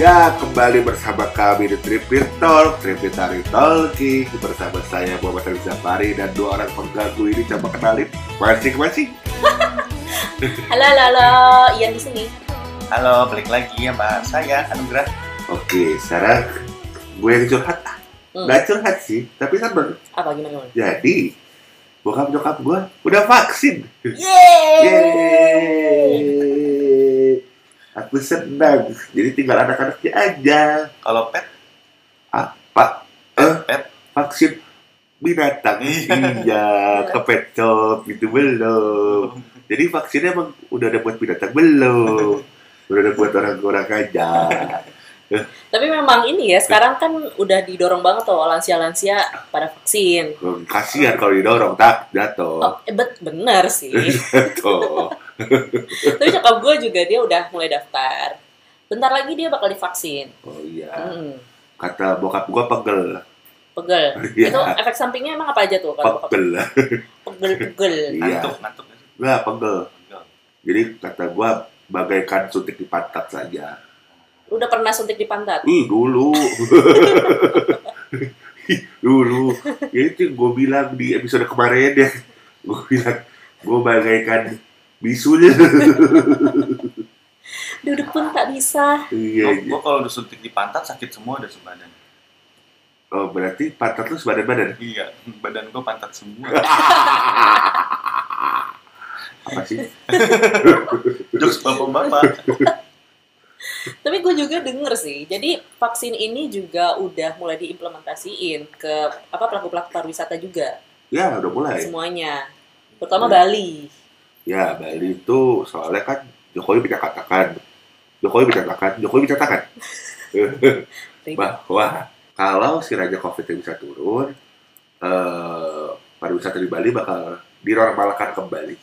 Ya, kembali bersama kami di Tripit Talk, Tripitari Talking Bersama saya Muhammad Arif Zafari dan dua orang pengganggu ini coba kenalin Masing-masing Halo, halo, halo, Ian di sini. Halo, balik lagi ya Mbak saya Anugrah. Oke, sekarang gue yang curhat Hmm. Nggak curhat sih, tapi sabar Apa gimana gimana? Jadi, bokap nyokap gue udah vaksin Yeay! Yeay Aku senang, jadi tinggal anak-anaknya aja Kalau pet, Pak, eh, pet. vaksin binatang iya ke pet shop gitu oh, belum jadi vaksinnya emang udah ada buat binatang belum udah ada buat orang-orang aja Tapi memang ini ya, sekarang kan udah didorong banget tuh lansia-lansia pada vaksin. Hmm, kasihan kalau didorong tak jatuh Oh Oh, eh, bet, bener sih. jatuh Tapi nyokap gue juga dia udah mulai daftar. Bentar lagi dia bakal divaksin. oh iya Hmm, kata bokap gua pegel pegel. Iya. Itu efek sampingnya emang apa aja tuh? Kalau bokap- pegel pegel-pegel. iya ngantuk, ngantuk. lah pegel jadi kata gua bagaikan suntik di pantat saja Lu udah pernah suntik di pantat? Ih, dulu. Ih, dulu. Ya itu gue bilang di episode kemarin ya. Gue bilang, gue bagaikan bisunya. Duduk pun tak bisa. Iya, Gue Oh, iya. kalau disuntik di pantat sakit semua dari sebadan. Oh, berarti pantat lu sebadan-badan. Iya, badan gue pantat semua. Apa sih? Jokes bapak-bapak. Tapi gue juga denger sih. Jadi vaksin ini juga udah mulai diimplementasiin ke apa pelaku-pelaku pariwisata juga Ya, udah mulai. semuanya. Terutama Iya. Bali. Ya, Bali itu soalnya kan Jokowi bisa katakan. Jokowi bisa katakan. Jokowi bisa katakan. bahwa kalau si raja covid yang bisa turun, eh, pariwisata di Bali bakal dinormalkan kembali,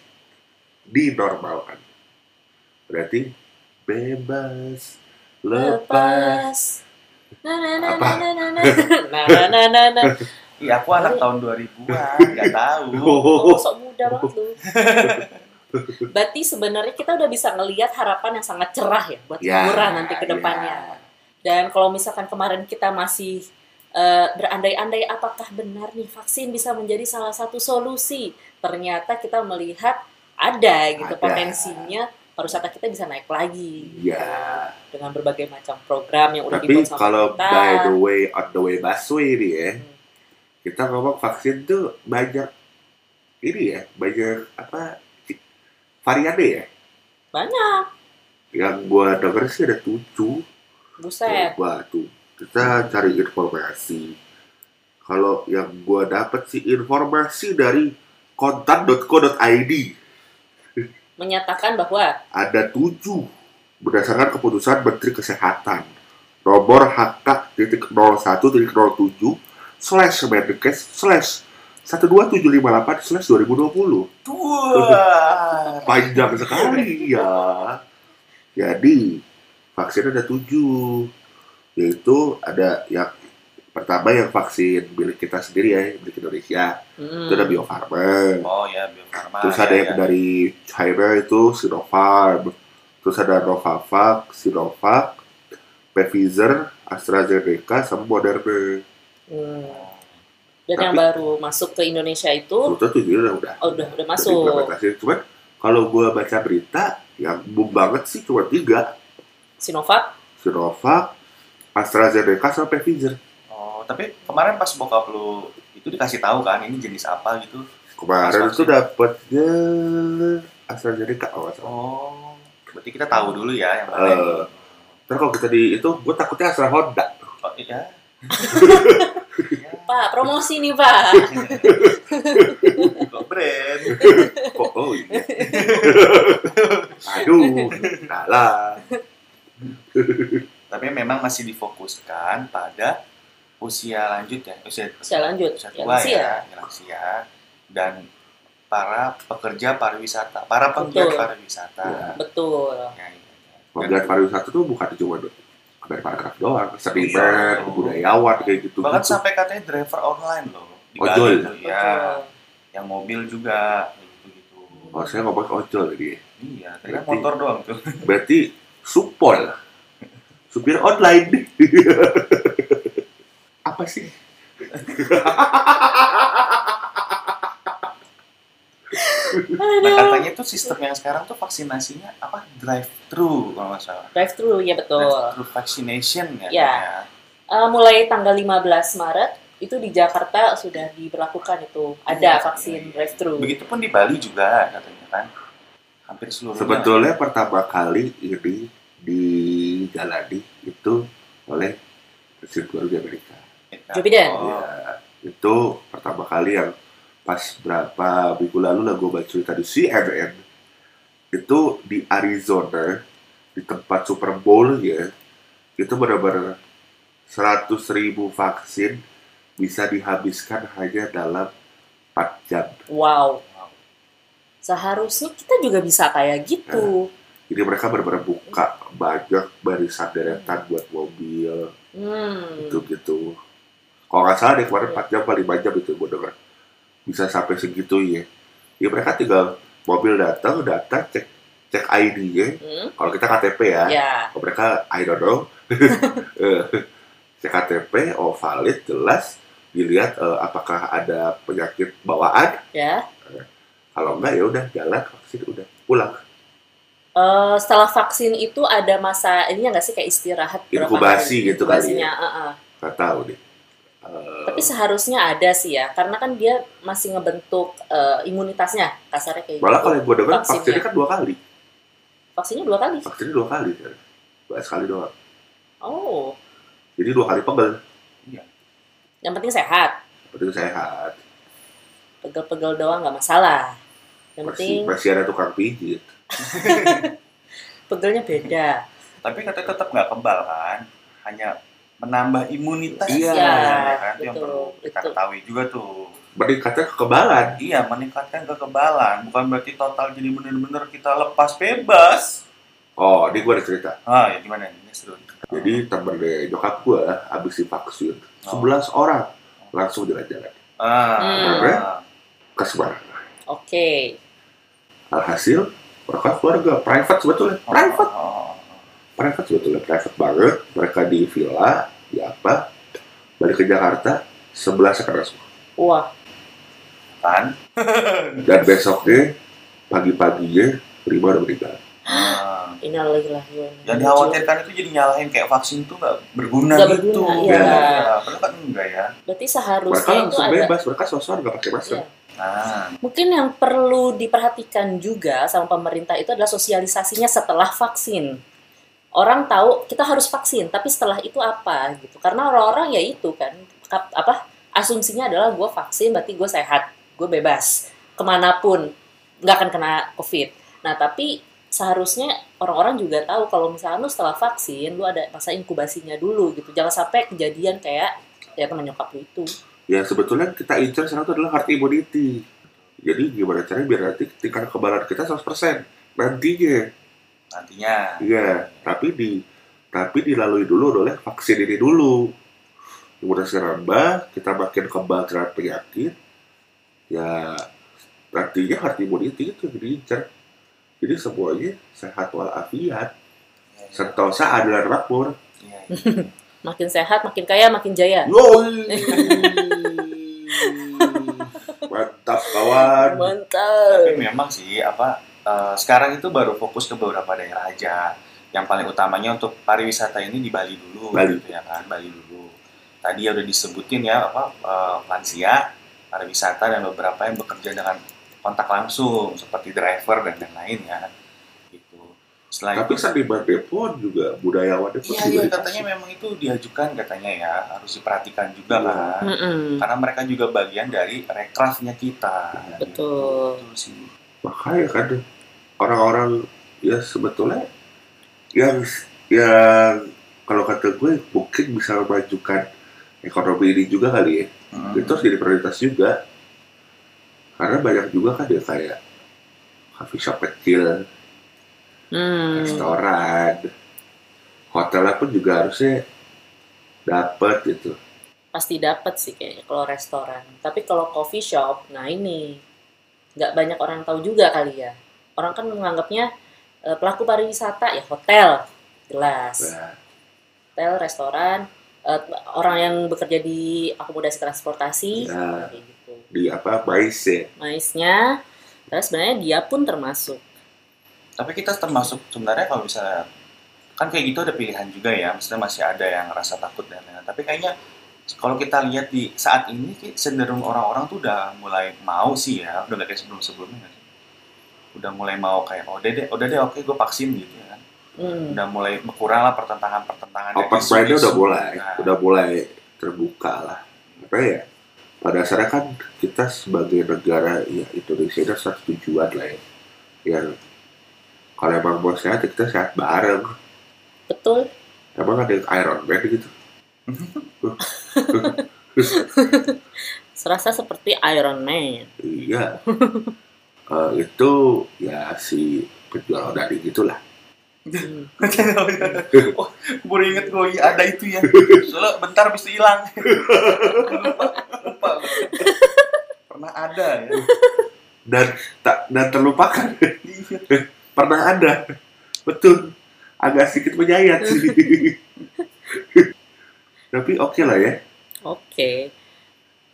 dinormalkan. Berarti bebas, lepas. Lepas. Na na na Apa? na na na. Na na na na na. Iya, aku anak tahun 2000-an, nggak tahu. Oh, sok muda banget lu. Berarti sebenarnya kita udah bisa ngelihat harapan yang sangat cerah ya buat liburan nanti ke depannya. Dan kalau misalkan kemarin kita masih eh, berandai-andai apakah benar nih vaksin bisa menjadi salah satu solusi, ternyata kita melihat ada gitu Ada. potensinya pariwisata kita bisa naik lagi Ya, dengan berbagai macam program yang udah tapi dibuat sama kalau kita. by the way, on the way busway nih ya, Hmm. kita ngomong vaksin tuh banyak ini ya, banyak apa variannya ya. Banyak, Yang gua denger sih ada tujuh. buset. Coba tuh kita cari informasi. Kalau yang gua dapat sih informasi dari kontan.co.id Menyatakan bahwa ada tujuh berdasarkan keputusan Menteri Kesehatan nomor HK 01.07 slash Menkes slash 12758 slash 2020 Tua. panjang sekali ya jadi vaksin ada tujuh yaitu ada yang pertama yang vaksin milik kita sendiri ya milik Indonesia hmm, itu ada Bio Farma Oh ya, Bio Farma. terus ya, Iya, ada yang ya. dari China itu Sinopharm terus ada Novavax Sinovac Pfizer AstraZeneca sama Moderna hmm. dan Tapi- yang baru masuk ke Indonesia itu sebetulnya tujuhnya udah udah oh, udah udah Jadi masuk implementasi. cuman kalau gua baca berita yang boom banget sih cuma tiga Sinovac. Sinovac, AstraZeneca, sama Pfizer. Oh, tapi kemarin pas bokap lu itu dikasih tahu kan ini jenis apa gitu. Kemarin Vaksin. itu dapatnya AstraZeneca, oh, nggak salah. Oh, berarti kita tahu dulu ya yang mana. Eh. Ntar kalau kita di itu, gue takutnya Astra Honda. Oh, iya. Iya. Pak, promosi nih, Pak. Kok brand? Oh, oh iya. Aduh, salah. Tapi memang masih difokuskan pada usia lanjut ya, usia, Usia lanjut, usia yang tua lansia. ya, yang lansia dan para pekerja pariwisata, para penggiat Betul. pariwisata. Betul. Ya, ya, ya. Pemilihan pariwisata tuh bukan cuma do- dari paragraf doang, seniman, budayawan kayak gitu. Bahkan sampai katanya driver online loh di Ojol. Bali tuh, Iya. ya, yang mobil juga gitu. Oh, saya ngomong ojol tadi. ya. Iya, ternyata Berarti- motor doang tuh. Berarti supol. supir online. Apa sih? Nah, Aduh. katanya tuh sistem yang sekarang tuh vaksinasinya apa drive thru kalau nggak salah. Drive thru ya betul. Drive thru vaccination ya. Ya. Eh, mulai tanggal 15 Maret itu di Jakarta sudah diberlakukan itu ada Iya, vaksin iya, iya. drive thru. Begitupun di Bali juga katanya kan. Hampir seluruhnya. Sebetulnya pertama kali ini dijalani itu oleh Presiden keluarga Amerika. Ya. Joe Biden. Oh, Ya, itu pertama kali yang pas berapa minggu lalu lah gue baca cerita di CNN itu di Arizona di tempat Super Bowl ya itu benar-benar 100.000 ribu vaksin bisa dihabiskan hanya dalam 4 jam. Wow. Wow. Seharusnya kita juga bisa kayak gitu. Jadi mereka benar-benar buka banyak barisan deretan buat mobil Hmm. gitu gitu. Kalau nggak salah deh kemarin 4 jam paling 5 jam itu gue dengar bisa sampai segitu ya. Ya mereka tinggal mobil datang, data cek cek ID-nya. Hmm. Kalau kita KTP ya, Ya. kalau mereka I don't know. Eh, cek KTP, oh valid, jelas. Dilihat eh, apakah ada penyakit bawaan. Ya. Kalau enggak ya udah jalan vaksin udah pulang. Eh, setelah vaksin itu ada masa ini nggak sih kayak istirahat berapa Inkubasi hari? gitu kali ya. Inkubasinya, eh, eh. Nggak tahu deh. Eh, Tapi seharusnya ada sih ya, karena kan dia masih ngebentuk eh, imunitasnya kasarnya kayak Eh, malah gitu. kalau gue dengar Vaksinnya. vaksinnya kan dua kali. Vaksinnya dua kali. Vaksinnya dua kali kan. Dua sekali doang. Oh, Jadi dua kali pegel. yang penting sehat. Penting sehat. Pegel-pegel doang nggak masalah. Yang penting Masih, masih ada tukang pijit. pegelnya beda. Tapi katanya tetap nggak kebal kan. Hanya menambah imunitas. Iya. ya kan? Itu yang Betul, perlu kita betul. ketahui juga tuh. Meningkatnya kekebalan. Iya, meningkatkan kekebalan. Bukan berarti total jadi bener-bener kita lepas bebas. Oh, ini gue ada cerita. Ah, ya gimana ini seru. Oh. Jadi temennya nyokap gue abis divaksin. Oh. 11 orang langsung jalan-jalan Ah, Hmm. ah. ke Semarang. Oke. Alhasil, mereka keluarga private sebetulnya. Oh, Private. oh, oh, oh. Private sebetulnya, private banget. Mereka di villa, di apa, balik ke Jakarta, 11 sekarang semua. Wah, Kan? Dan besoknya, pagi-paginya, lima udah meninggal. Ah. innalillahi wa inna Yang ilaihi raji'un. dikhawatirkan itu jadi nyalahin kayak vaksin tuh nggak berguna Nggak gitu. berguna, iya. Padahal kan enggak ya. Berarti Mereka seharusnya itu langsung ada bebas, mereka sosok nggak pakai masker. Iya. Nah, Mungkin yang perlu diperhatikan juga sama pemerintah itu adalah sosialisasinya setelah vaksin. Orang tahu kita harus vaksin, tapi setelah itu apa gitu? Karena orang-orang ya itu kan kap- apa asumsinya adalah gue vaksin berarti gue sehat, gue bebas kemanapun nggak akan kena covid. Nah tapi seharusnya orang-orang juga tahu kalau misalnya lu setelah vaksin lu ada masa inkubasinya dulu gitu. Jangan sampai kejadian kayak ya teman nyokap lu itu. Ya sebetulnya kita incer sekarang itu adalah herd immunity. Jadi gimana caranya biar nanti tingkat kekebalan kita 100% nantinya. nantinya. Iya, tapi di tapi dilalui dulu oleh vaksin ini dulu. Imunitas nambah, kita makin kebal terhadap penyakit. Ya nantinya herd immunity itu yang diincer. Jadi semuanya sehat walafiat, Iya, iya. sentosa adalah makmur. Iya, iya. Makin sehat, makin kaya, makin jaya. Yoi! Mantap kawan. Mantap. Tapi memang sih apa eh, sekarang itu baru fokus ke beberapa daerah aja. Yang paling utamanya untuk pariwisata ini di Bali dulu, Bali. gitu ya kan, Bali dulu. Tadi ya udah disebutin ya apa eh, lansia, pariwisata dan beberapa yang bekerja dengan kontak langsung seperti driver dan lain-lain ya. Gitu. Selain Tapi seniman Depon juga budayawan Depon Iya, juga iya, dikasih. katanya memang itu diajukan katanya ya harus diperhatikan juga Iya. kan, Mm-mm. karena mereka juga bagian dari rekrafnya kita. Betul. Gitu sih. makanya kan orang-orang ya sebetulnya yang yang kalau kata gue mungkin bisa memajukan ekonomi ini juga kali ya Mm. itu harus jadi prioritas juga karena banyak juga kan ya kayak coffee shop kecil, Hmm. restoran, hotelnya pun juga harusnya dapat gitu. Pasti dapat sih kayaknya kalau restoran. Tapi kalau coffee shop, nah ini nggak banyak orang tahu juga kali ya. Orang kan menganggapnya eh, pelaku pariwisata ya hotel jelas. Nah, hotel, restoran, eh, orang yang bekerja di akomodasi transportasi, Ya. kayak gitu. di apa mais ya Maisnya, terus sebenarnya dia pun termasuk. tapi kita termasuk sebenarnya kalau bisa kan kayak gitu ada pilihan juga ya maksudnya masih ada yang rasa takut dan lain-lain tapi kayaknya kalau kita lihat di saat ini kayak cenderung orang-orang tuh udah mulai mau sih ya udah gak kayak sebelum-sebelumnya nggak sih? udah mulai mau kayak oh udah deh udah deh oke gue vaksin gitu ya kan Hmm. udah mulai berkurang lah pertentangan-pertentangan dan open isu-isu. mind udah mulai Nah, udah mulai terbuka lah karena ya pada dasarnya kan kita sebagai negara ya Indonesia itu satu tujuan lah ya yang kalau emang mau sehat ya kita sehat bareng Betul. emang ada yang Iron Man gitu Serasa seperti Iron Man. iya Eh, itu ya si penjual gitu odari gitulah Hmm. oh, baru inget gue iya, ada itu ya soalnya bentar bisa hilang lupa, lupa gua. pernah ada ya dan tak dan terlupakan Iya. pernah ada betul agak sedikit menyayat sih tapi oke lah ya Oke.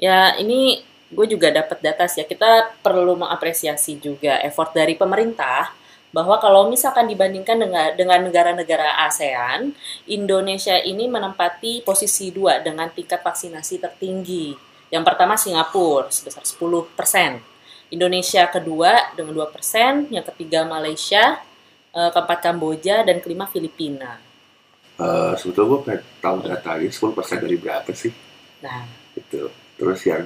Ya, ini gue juga dapat data sih ya. Kita perlu mengapresiasi juga effort dari pemerintah bahwa kalau misalkan dibandingkan dengan dengan negara-negara ASEAN, Indonesia ini menempati posisi dua dengan tingkat vaksinasi tertinggi. Yang pertama Singapura sebesar 10%. Indonesia kedua dengan 2%, yang ketiga Malaysia, eh, keempat Kamboja, dan kelima Filipina. Eh, sebetulnya gue pengen tahu datanya 10 dari berapa sih Nah, gitu terus yang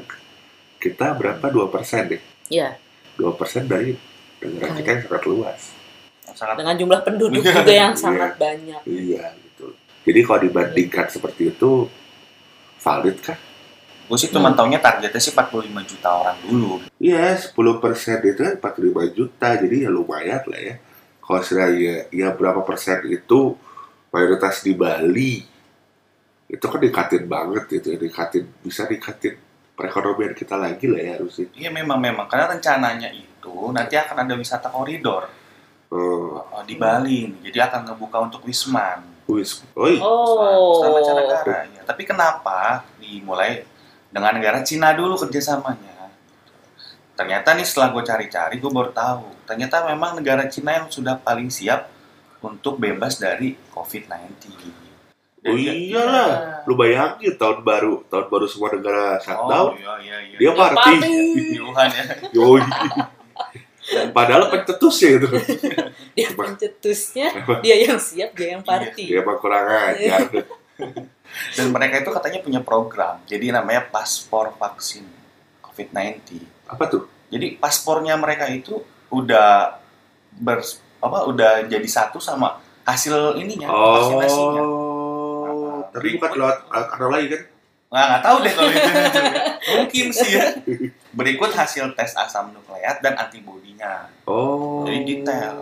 kita berapa 2% deh ya 2% dari negara kita yang sangat luas sangat dengan jumlah penduduk juga yang sangat banyak. iya gitu jadi kalau dibandingkan seperti itu valid kan gue sih cuma taunya targetnya sih 45 juta orang dulu Iya, 10 persen itu kan 45 juta, jadi ya lumayan lah ya. Kalau misalnya ya berapa persen itu mayoritas di Bali, itu kan dikatin banget gitu, ya, dikatin bisa dikatin perekonomian kita lagi lah ya harusnya. iya memang memang karena rencananya itu nanti akan ada wisata koridor Oh, eh, di Bali nih. jadi akan ngebuka untuk wisman wis, oi, Oh. Wisman mancanegara ya. tapi kenapa dimulai dengan negara Cina dulu kerjasamanya ternyata nih setelah gue cari-cari gue baru tahu ternyata memang negara Cina yang sudah paling siap untuk bebas dari COVID-19 Dan Oh dia- Nah, iyalah. lu bayangin gitu tahun baru, tahun baru semua negara oh shutdown, iya iya iya dia party, Di Wuhan ya yoi. Padahal pencetus ya gitu. dia Coba. pencetusnya dia yang siap dia yang Ya party emang kurang ajar. Iya. Dan mereka itu katanya punya program, jadi namanya paspor vaksin COVID-19. Apa tuh? Jadi paspornya mereka itu udah ber apa udah jadi satu sama hasil ininya vaksinasinya. Oh, tapi bukan lewat alat anak lagi kan? Nah, nggak tahu deh kalau itu mungkin sih ya. Berikut hasil tes asam nukleat dan antibodinya. Oh. Jadi detail.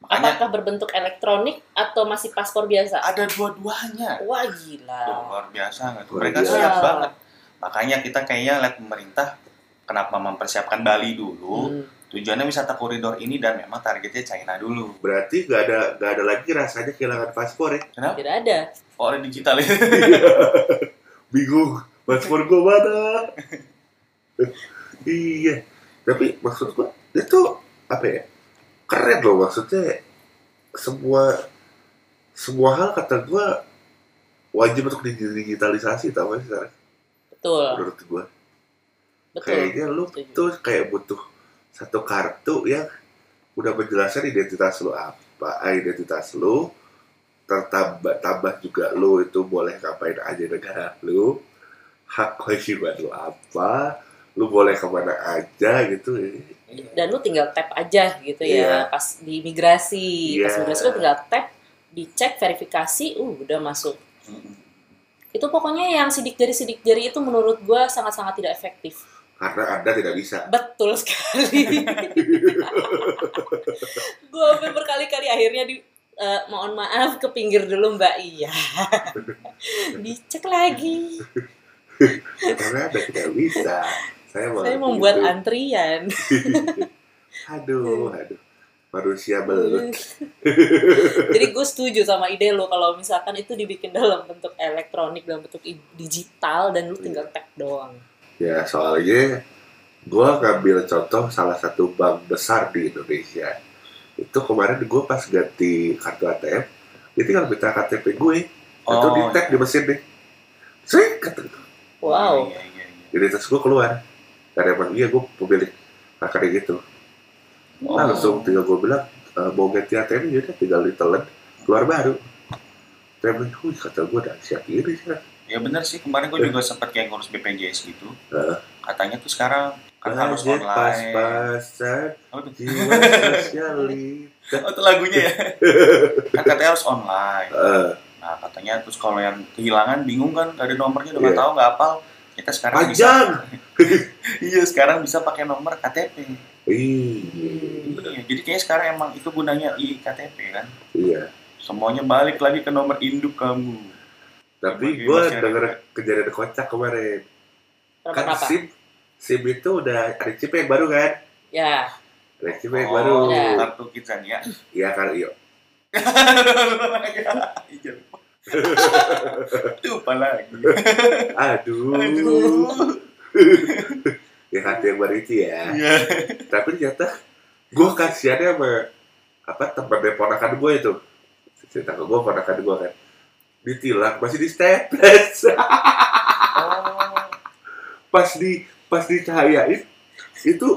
Makanya apakah berbentuk elektronik atau masih paspor biasa ada dua-duanya. wah Tuh, gila luar biasa nggak tuh? Luar Mereka biasa. siap banget. Makanya kita kayaknya lihat pemerintah kenapa mempersiapkan Bali dulu. Hmm. Tujuannya wisata koridor ini dan memang targetnya China dulu. Berarti nggak ada nggak ada lagi rasanya kehilangan paspor ya? Kenapa? tidak ada Oh, ada digital ya. Bingung, paspor gua mana? Eh, iya. Tapi maksud gua itu apa ya? Keren loh maksudnya semua semua hal kata gua wajib untuk digitalisasi tau gak sih sekarang betul menurut gua betul kayaknya lu Setuju. tuh kayak butuh satu kartu yang udah menjelaskan identitas lu apa ah, identitas lu tertambah tambah juga lu itu boleh ngapain aja di negara lu hak kewajiban lu apa lu boleh kemana aja gitu dan lu tinggal tap aja gitu Iya. ya pas di imigrasi Iya. pas imigrasi lu tinggal tap dicek verifikasi uh udah masuk itu pokoknya yang sidik jari sidik jari itu menurut gua sangat-sangat tidak efektif karena anda tidak bisa Betul sekali. gue hampir berkali-kali akhirnya di eh, mohon maaf ke pinggir dulu Mbak Iya. Dicek lagi. karena anda tidak bisa saya, mengerti Saya membuat itu. antrian. aduh aduh manusia belut. Jadi gue setuju sama ide lo kalau misalkan itu dibikin dalam bentuk elektronik, dalam bentuk i- digital dan lu tinggal tag doang. Ya soalnya gue ngambil contoh salah satu bank besar di Indonesia. Itu kemarin gue pas ganti kartu ATM, dia tinggal minta KTP gue. Itu Oh, di tag iya. di mesin deh. Sih, kata gitu. Wow. Iya, iya, iya. Jadi tas gue keluar. Dan emang iya gue pemilik makanya gitu. Nah, Oh. Langsung tinggal gue bilang, e, mau ganti ATM ya udah tinggal ditelan, keluar baru. Tapi, wih kata gue udah siap ini sih. Ya benar sih, kemarin gue juga sempat kayak ngurus BPJS gitu. Heeh. Nah, Katanya tuh sekarang kan harus Budget online. pas-pasan, Apa tuh? jiwa sosialita. Oh, itu lagunya ya. kan katanya harus online. Eh, Nah, katanya terus kalau yang kehilangan bingung kan, gak ada nomornya, udah nggak Iya. tahu nggak hafal. Kita sekarang Panjang. bisa. iya, sekarang bisa pakai nomor KTP. Iya. Ih, Iya, jadi kayaknya sekarang emang itu gunanya iktp kan. iya. Semuanya balik lagi ke nomor induk kamu. Tapi Bagi gue masyarakat. denger kejadian kocak kemarin. Kan Kenapa? SIM, SIM itu udah ada chip yang baru kan? Ya, Ada chip Oh, yang baru. iya. kartu kita nih ya. Iya kan, iya. Iya. Lupa lagi. Aduh. Aduh. ya kartu yang baru itu ya. Iya. Tapi ternyata gue kasihannya sama apa teman ponakan gue itu. Cerita ke gue ponakan gue kan. Ditilang masih di staples. Oh. pas di pas dicahayain itu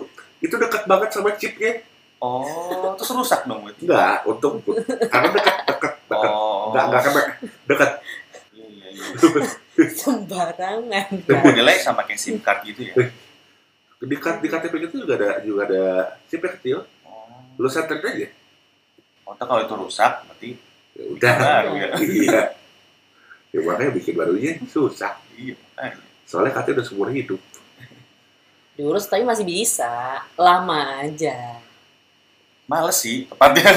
itu dekat banget sama chipnya. Oh, terus rusak dong berarti. Enggak, untung karena dekat dekat dekat. Oh. Enggak enggak kena dekat. Iya, iya, iya. sembarangan. Itu kan? modelnya sama kayak SIM card gitu ya. Di, K- di KTP itu juga ada juga ada chip yang kecil. Oh. Lu santet aja. Oh, tapi kalau itu rusak berarti Ya udah. baru ya. Iya. Ya makanya bikin barunya susah. Iya. makanya. Soalnya katanya udah seumur hidup. Diurus tapi masih bisa, lama aja. Males sih tepatnya.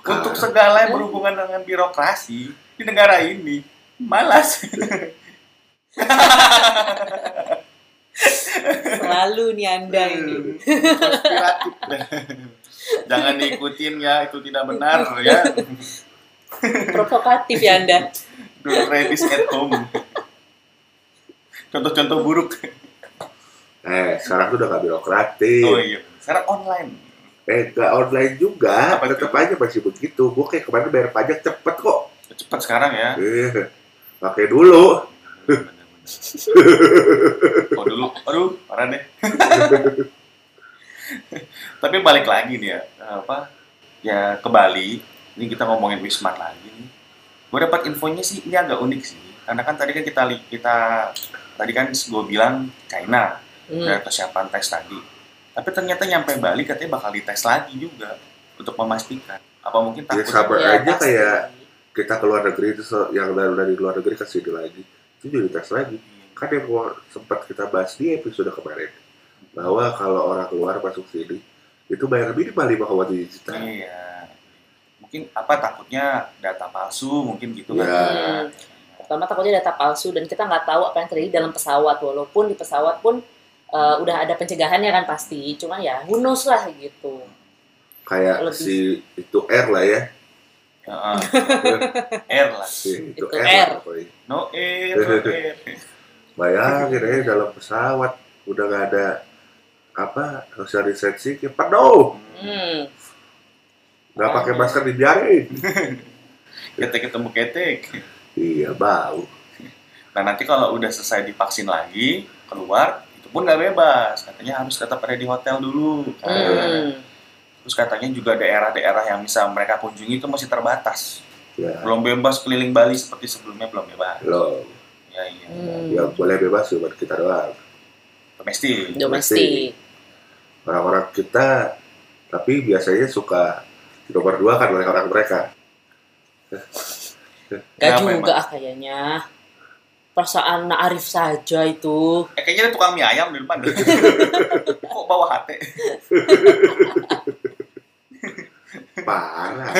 Untuk segala yang berhubungan dengan birokrasi di negara ini, malas. Selalu nih anda ini. Hmm, Konspiratif. Jangan diikutin ya, itu tidak benar ya. Provokatif ya anda. Do redis at home. Contoh-contoh buruk. Eh, sekarang tuh udah gak birokratis. Oh iya, sekarang online. Eh, gak online juga. Apa Tetep aja masih begitu. Gue kayak kemarin bayar pajak cepet kok. Cepat sekarang ya. Eh, pakai dulu. Oh dulu, aduh, parah deh. Tapi balik lagi nih ya, apa? Ya ke Bali. Ini kita ngomongin Wismar lagi nih. Gue dapat infonya sih ini agak unik sih. Karena kan tadi kan kita li- kita tadi kan gue bilang China Hmm. dari persiapan tes tadi. Tapi ternyata nyampe Bali katanya bakal dites lagi juga untuk memastikan. Apa mungkin Ya, takut? sabar Ya, aja pasti. kayak kita ke luar negeri itu se- yang dari, dari luar negeri ke sini lagi. Itu juga tes lagi. Kan yang gua- sempat kita bahas di episode kemarin. Bahwa kalau orang keluar masuk sini, itu bayar minimal 5 koma tujuh juta. Iya. Mungkin apa takutnya data palsu mungkin gitu Iya. Ya. kan. Hmm. Pertama takutnya data palsu dan kita nggak tahu apa yang terjadi dalam pesawat walaupun di pesawat pun eh, udah ada pencegahannya kan pasti. Cuman ya who knows lah gitu. Kayak Lebih. Iya. si itu R lah ya. Heeh. air lah. Si itu, R. Itu lah R. pokoknya. No air, no air. Bayangin aja dalam pesawat. Udah gak ada apa social distancing ya, penuh Hmm. nggak Iya. pakai masker di jari Ketek ketemu ketek. iya bau Nah nanti kalau udah selesai divaksin lagi, keluar, itu pun nggak bebas. Katanya harus tetap ada di hotel dulu. Nah, Hmm. Terus katanya juga daerah-daerah yang bisa mereka kunjungi itu masih terbatas. ya Belum bebas keliling Bali seperti sebelumnya belum bebas. loh Ya, iya. Hmm. yang boleh bebas cuma kita doang Domestik. Domestik. orang-orang kita tapi biasanya suka di nomor dua kan oleh orang mereka Gak Kenapa juga ah kayaknya. Perasaan Nak Arif saja itu. Eh, kayaknya ada tukang mie ayam di depan. deh. Kok bawa hati? Nah. parah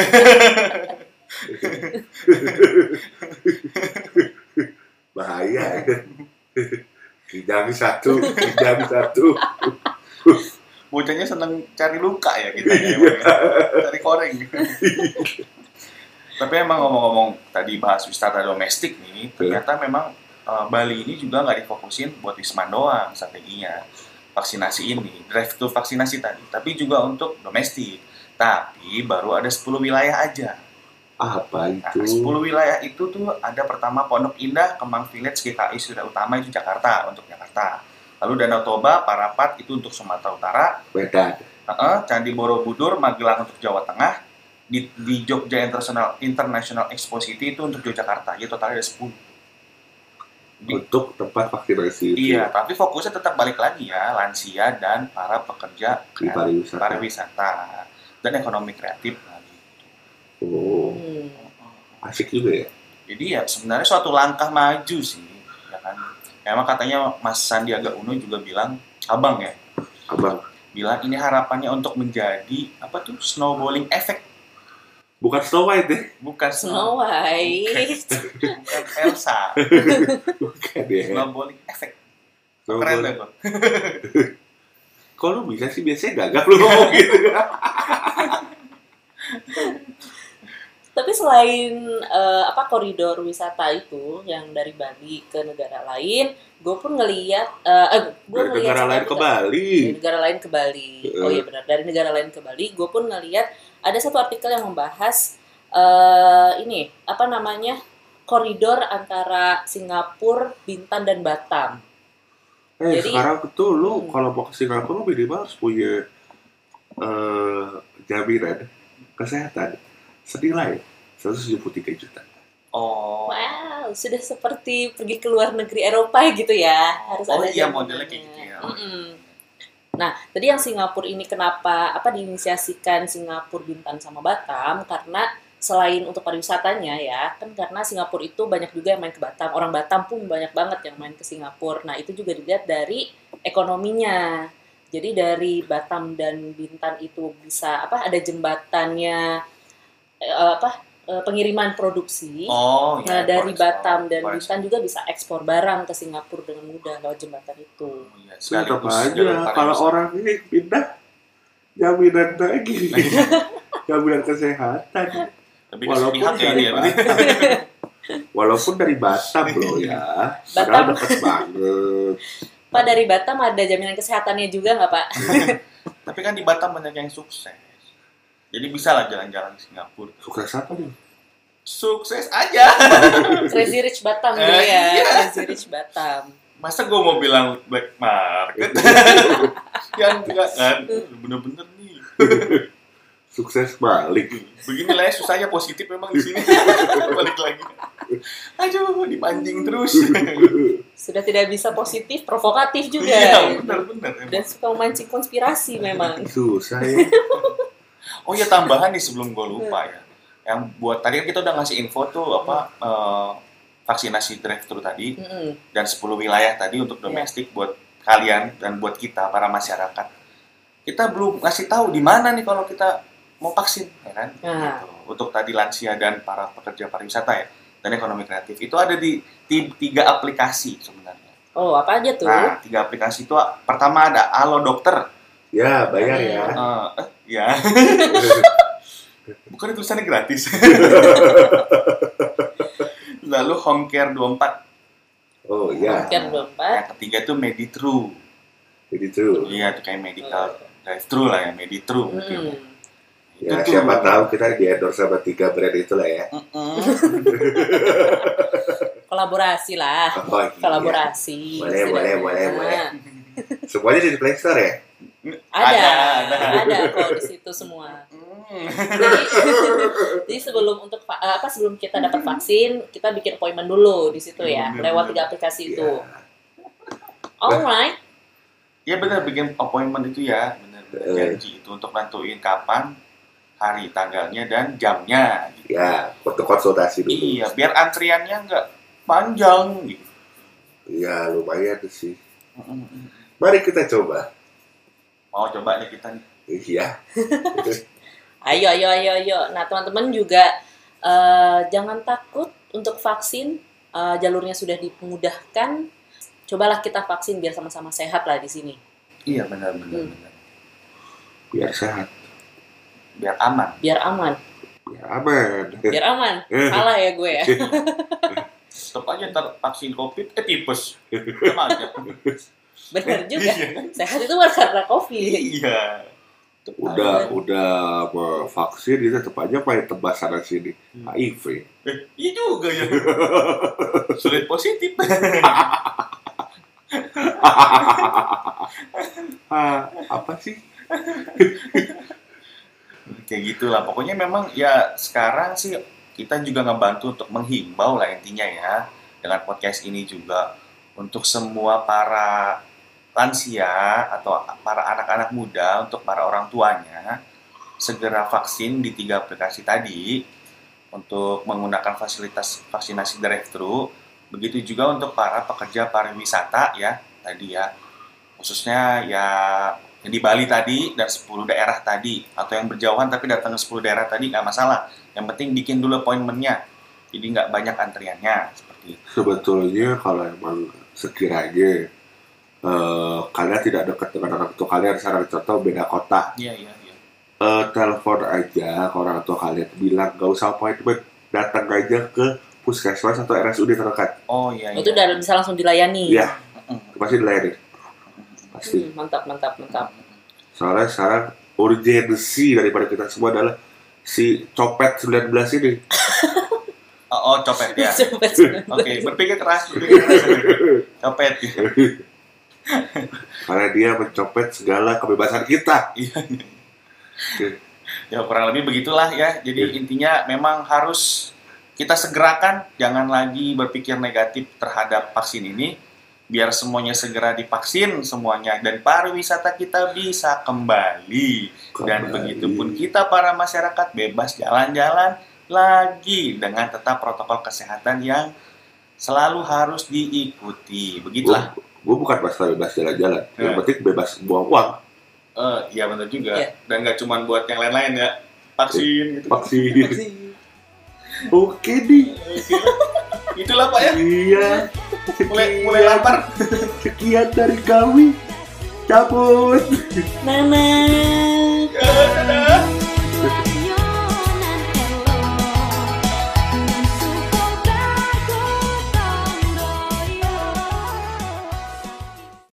bahaya kijang satu kijang satu bocahnya seneng cari luka ya kita ya, Bang, ya. cari koreng. Tapi emang ngomong-ngomong tadi bahas wisata domestik nih, ternyata memang eh, Bali ini juga nggak difokusin buat Wisman doang strateginya vaksinasi ini, drive to vaksinasi tadi, tapi juga untuk domestik. Tapi baru ada 10 wilayah aja. Apa Nah, itu? 10 wilayah itu tuh ada pertama Pondok Indah, Kemang Village, GKI Sudah Utama itu Jakarta untuk Jakarta. Lalu Danau Toba, Parapat itu untuk Sumatera Utara, Medan. Heeh, Candi Borobudur, Magelang untuk Jawa Tengah, di, di Jogja International International Expo City itu untuk Yogyakarta. Jadi totalnya ada 10. Di- Untuk tempat vaksinasi itu. Iya, tapi fokusnya tetap balik lagi ya, lansia dan para pekerja Di kreatif- pariwisata. pariwisata dan ekonomi kreatif lagi. Oh, Hmm. asik juga ya. Jadi ya sebenarnya suatu langkah maju sih, ya kan. Emang katanya Mas Sandiaga Uno juga bilang, abang ya, Abang, bilang ini harapannya untuk menjadi apa tuh snowballing effect, bukan Snow White ya, deh. bukan Snow White. bukan Elsa. Bukan ya. Snowballing efek. Snow Keren ya, White. deh Bang. Kok lu bisa sih biasanya gagap lu ngomong gitu? Tapi selain eh, apa koridor wisata itu yang dari Bali ke negara lain, gue pun ngeliat, eh, eh, gua Dari ngeliat negara sama lain juga. ke Bali. dari negara lain ke Bali. Oh iya benar, dari negara lain ke Bali, gue pun ngeliat ada satu artikel yang membahas eh ini apa namanya koridor antara Singapura, Bintan dan Batam. Eh, Jadi- sekarang tuh lu Hmm. kalau mau ke Singapura lu minimal harus punya eh, jaminan kesehatan senilai 173 juta. Oh. Wow, sudah seperti pergi ke luar negeri Eropa gitu ya, harus Oh ada iya, jaminannya. modelnya kayak gitu ya. Mm-mm. Nah, tadi yang Singapura ini kenapa apa diinisiasikan Singapura Bintan sama Batam karena selain untuk pariwisatanya ya, kan karena Singapura itu banyak juga yang main ke Batam. Orang Batam pun banyak banget yang main ke Singapura. Nah, itu juga dilihat dari ekonominya. Jadi dari Batam dan Bintan itu bisa apa ada jembatannya eh, apa eh, pengiriman produksi. Oh, Nah, iya, dari Boris. Batam dan Oh, Boris. Bintan juga bisa ekspor barang ke Singapura dengan mudah lewat jembatan itu. Oh, iya, Tetap sekaligus jalan aja pariwisata. kalau orang ini pindah jaminan lagi. jaminan kesehatan. lebih Walaupun sepihak ya dari dia. Batam. Walaupun dari Batam loh ya. Padahal Batam. deket banget. Pak dari Batam ada jaminan kesehatannya juga nggak Pak? Tapi kan di Batam banyak yang sukses. Jadi bisa lah jalan-jalan ke Singapura. Sukses apa nih? Sukses aja. Crazy Rich Batam gitu Eh, ya, iya. Crazy Rich Batam. Masa gue mau bilang black market? ya enggak Iya. kan. Bener-bener nih. Sukses balik. Beginilah ya, susahnya positif memang di sini. Balik lagi. Aduh, dipancing terus. Sudah tidak bisa positif, provokatif juga. ya. Iya, benar-benar. Dan suka memancing konspirasi memang. Susah ya. Oh ya tambahan nih sebelum gue lupa ya. Yang buat tadi kan kita udah ngasih info tuh apa eh, vaksinasi drive thru tadi Mm-mm. dan 10 wilayah tadi untuk domestik buat kalian dan buat kita para masyarakat. Kita belum ngasih tahu di mana nih kalau kita mau vaksin ya kan? Nah. Gitu. Untuk tadi lansia dan para pekerja pariwisata ya dan ekonomi kreatif itu ada di, di tiga aplikasi sebenarnya. Oh, apa aja tuh? Nah, tiga aplikasi itu pertama ada Alo Dokter. Ya, bayar ya. Eh, eh, ya, bukan tulisannya gratis. Lalu home care 24. Oh ya, Kan belum, Pak? Yang ketiga itu Meditru. jadi true. Iya, itu kayak medical drive thru lah ya, Meditru mungkin. Mm. Itu Ya tuh. siapa tahu kita di endorse sama tiga brand itu lah ya. Mm-mm. Kolaborasi lah. Oh, iya. Nah, Kolaborasi. Boleh, boleh, boleh, Nah, boleh. Semuanya di Play Store ya. Ada, Ada, ada. ada, kok di situ semua. Mm. jadi, jadi sebelum untuk va- eh, apa sebelum kita dapat vaksin kita bikin appointment dulu di situ ya Bener, lewat bener. tiga aplikasi itu Ya. alright Ya benar bikin appointment itu ya, benar benar Eh. janji itu untuk bantuin kapan, hari, tanggalnya dan jamnya. gitu. ya, untuk konsultasi dulu. Iya, biar antriannya nggak panjang gitu. Ya lumayan sih. Mm-mm. Mari kita coba. Mau coba nih kita nih. Iya. ayo ayo ayo ayo nah teman-teman juga eh, jangan takut untuk vaksin Eh, jalurnya sudah dimudahkan cobalah kita vaksin biar sama-sama sehat lah di sini Iya benar benar. Hmm. benar. biar sehat biar aman biar aman biar aman Eh, biar aman salah ya gue ya tetap aja ntar vaksin covid eh tipes sama aja benar juga sehat itu bukan karena covid iya Tetep udah udah vaksin itu tetap aja pakai tebas sana sini Hmm. HIV Eh, iya juga ya. Sulit positif. ah, apa sih Kayak gitulah. Pokoknya memang ya sekarang sih kita juga ngebantu untuk menghimbau lah intinya ya dengan podcast ini juga untuk semua para lansia atau para anak-anak muda untuk para orang tuanya segera vaksin di tiga aplikasi tadi untuk menggunakan fasilitas vaksinasi drive-thru begitu juga untuk para pekerja pariwisata ya tadi ya khususnya ya yang di Bali tadi dan 10 daerah tadi atau yang berjauhan tapi datang ke 10 daerah tadi nggak masalah yang penting bikin dulu appointmentnya jadi nggak banyak antriannya seperti itu sebetulnya kalau emang sekiranya eh, kalian tidak dekat dengan orang tua kalian secara contoh beda kota iya iya iya eh, telepon aja ke orang tua kalian bilang gak usah appointment datang aja ke puskesmas atau RSUD terdekat oh iya iya itu udah bisa langsung dilayani Iya. Mm-mm. pasti dilayani pasti Hmm, mantap mantap mantap soalnya sekarang urgensi daripada kita semua adalah si copet 19 ini oh, oh copet ya Coba, coba. oke berpikir keras berpikir keras copet ya. karena dia mencopet segala kebebasan kita ya kurang lebih begitulah ya jadi Iya. intinya memang harus kita segerakan jangan lagi berpikir negatif terhadap vaksin ini biar semuanya segera divaksin semuanya dan pariwisata kita bisa kembali dan begitu pun kita para masyarakat bebas jalan-jalan lagi dengan tetap protokol kesehatan yang selalu harus diikuti begitulah gue bukan masalah bebas jalan-jalan yang Ya. penting bebas buang uang eh ya benar juga Iya. dan nggak cuma buat yang lain-lain ya vaksin gitu vaksin oke nih itulah pak ya iya mulai mulai lapar sekian dari kami cabut Mama.